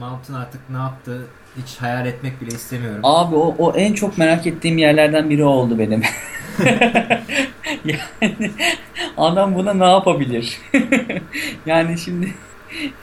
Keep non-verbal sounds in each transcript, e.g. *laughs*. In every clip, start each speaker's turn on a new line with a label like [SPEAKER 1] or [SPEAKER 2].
[SPEAKER 1] Compton artık ne yaptı hiç hayal etmek bile istemiyorum.
[SPEAKER 2] Abi o, o en çok merak ettiğim yerlerden biri oldu benim. *laughs* yani adam buna ne yapabilir? *laughs* yani şimdi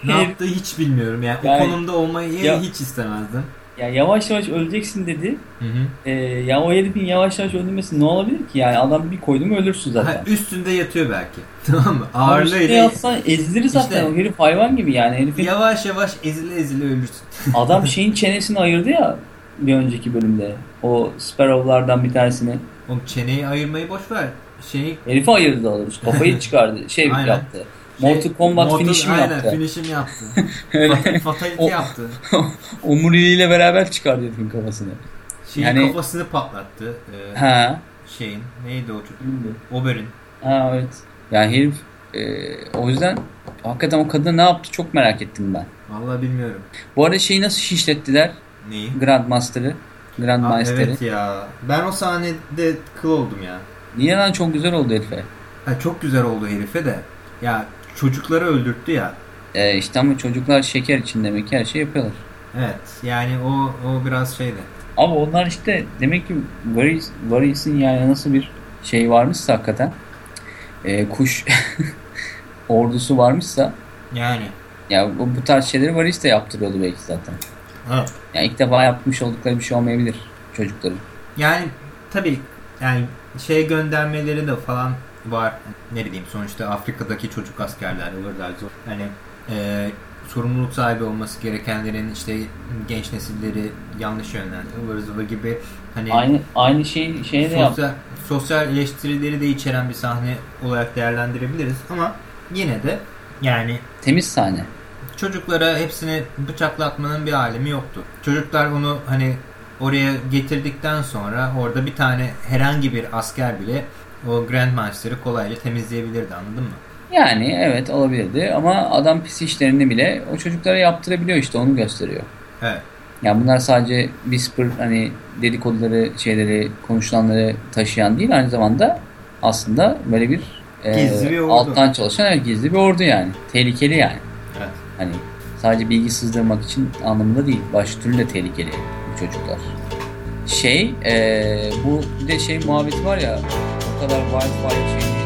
[SPEAKER 1] ne yaptı hiç bilmiyorum yani,
[SPEAKER 2] Yani-
[SPEAKER 1] o konumda olmayı
[SPEAKER 2] Ya-
[SPEAKER 1] hiç istemezdim.
[SPEAKER 2] ya yavaş yavaş öleceksin dedi.
[SPEAKER 1] Hı hı.
[SPEAKER 2] Ee, ya o herifin yavaş yavaş öldürmesi ne olabilir ki? Yani adam bir koydu mu ölürsün zaten.
[SPEAKER 1] Ha, üstünde yatıyor belki. *laughs* Tamam mı?
[SPEAKER 2] Ama üstüne
[SPEAKER 1] Ağırlığıyla
[SPEAKER 2] yatsan ezilir zaten.
[SPEAKER 1] İşte-
[SPEAKER 2] O herif hayvan gibi yani.
[SPEAKER 1] *laughs*
[SPEAKER 2] Herifin
[SPEAKER 1] yavaş yavaş ezile ezile ölürsün. *laughs*
[SPEAKER 2] adam şeyin çenesini ayırdı ya bir önceki bölümde. O Sparrow'lardan bir tanesini.
[SPEAKER 1] Oğlum çeneyi ayırmayı boş ver. Şey, Şeyi
[SPEAKER 2] Herifi ayırdı daha doğrusu.
[SPEAKER 1] *laughs*
[SPEAKER 2] Kafayı çıkardı. Şey
[SPEAKER 1] Aynen. *laughs*
[SPEAKER 2] yaptı. *laughs* Mortal Kombat finish'i mi
[SPEAKER 1] aynen,
[SPEAKER 2] yaptı?
[SPEAKER 1] finish'im yaptı.
[SPEAKER 2] *laughs* Öyle.
[SPEAKER 1] Fat- Fatality
[SPEAKER 2] O-
[SPEAKER 1] yaptı.
[SPEAKER 2] Omuriliğiyle beraber çıkardı herifin kafasını.
[SPEAKER 1] Şeyin
[SPEAKER 2] Yani-
[SPEAKER 1] kafasını patlattı. Ee,
[SPEAKER 2] Ha.
[SPEAKER 1] şeyin. Neydi o çocuk? Oberyn.
[SPEAKER 2] Ha evet. Yani herif e, o yüzden hakikaten o kadına ne yaptı çok merak ettim ben.
[SPEAKER 1] Vallahi bilmiyorum.
[SPEAKER 2] Bu arada şeyi nasıl şişlettiler?
[SPEAKER 1] Neyi?
[SPEAKER 2] Grandmaster'ı.
[SPEAKER 1] Aa,
[SPEAKER 2] Grandmaster'ı.
[SPEAKER 1] evet ya. Ben o sahnede kıl oldum ya.
[SPEAKER 2] Niye lan çok güzel oldu herife.
[SPEAKER 1] Ha, çok güzel oldu herife de. Ya çocukları öldürttü ya.
[SPEAKER 2] E, işte ama çocuklar şeker için demek ki her şey yapıyorlar.
[SPEAKER 1] Evet. Yani o o biraz şeydi.
[SPEAKER 2] Ama onlar işte demek ki Varys, Varys'in yani nasıl bir şey varmışsa hakikaten e, kuş *laughs* ordusu varmışsa
[SPEAKER 1] Yani.
[SPEAKER 2] ya bu, bu tarz şeyleri Varys de yaptırıyordu belki zaten.
[SPEAKER 1] Evet.
[SPEAKER 2] Yani ilk defa yapmış oldukları bir şey olmayabilir çocukların.
[SPEAKER 1] Yani tabii yani şey göndermeleri de falan var. Ne bileyim sonuçta Afrika'daki çocuk askerler olurlar. Hani e, sorumluluk sahibi olması gerekenlerin işte genç nesilleri yanlış yönlendirme ıvır zıvır gibi hani
[SPEAKER 2] Aynı aynı şeyi şeye de yap.
[SPEAKER 1] sosyal, sosyal eleştirileri de içeren bir sahne olarak değerlendirebiliriz ama yine de yani
[SPEAKER 2] Temiz sahne.
[SPEAKER 1] çocuklara hepsini bıçaklatmanın bir alemi yoktu. Çocuklar onu hani oraya getirdikten sonra orada bir tane herhangi bir asker bile o Grandmaster'ı kolayca temizleyebilirdi anladın mı?
[SPEAKER 2] Yani evet olabilirdi ama adam pis işlerini bile o çocuklara yaptırabiliyor işte onu gösteriyor.
[SPEAKER 1] Evet.
[SPEAKER 2] Yani bunlar sadece whisper hani dedikoduları, şeyleri, konuşulanları taşıyan değil aynı zamanda aslında böyle bir e,
[SPEAKER 1] Gizli bir ordu.
[SPEAKER 2] alttan çalışan evet, gizli bir ordu yani. Tehlikeli yani.
[SPEAKER 1] Evet.
[SPEAKER 2] Hani sadece bilgi sızdırmak için anlamında değil. Başka türlü de tehlikeli bu çocuklar. Şey, e, bu bir de şey muhabbeti var ya, bu kadar wildfire şeyini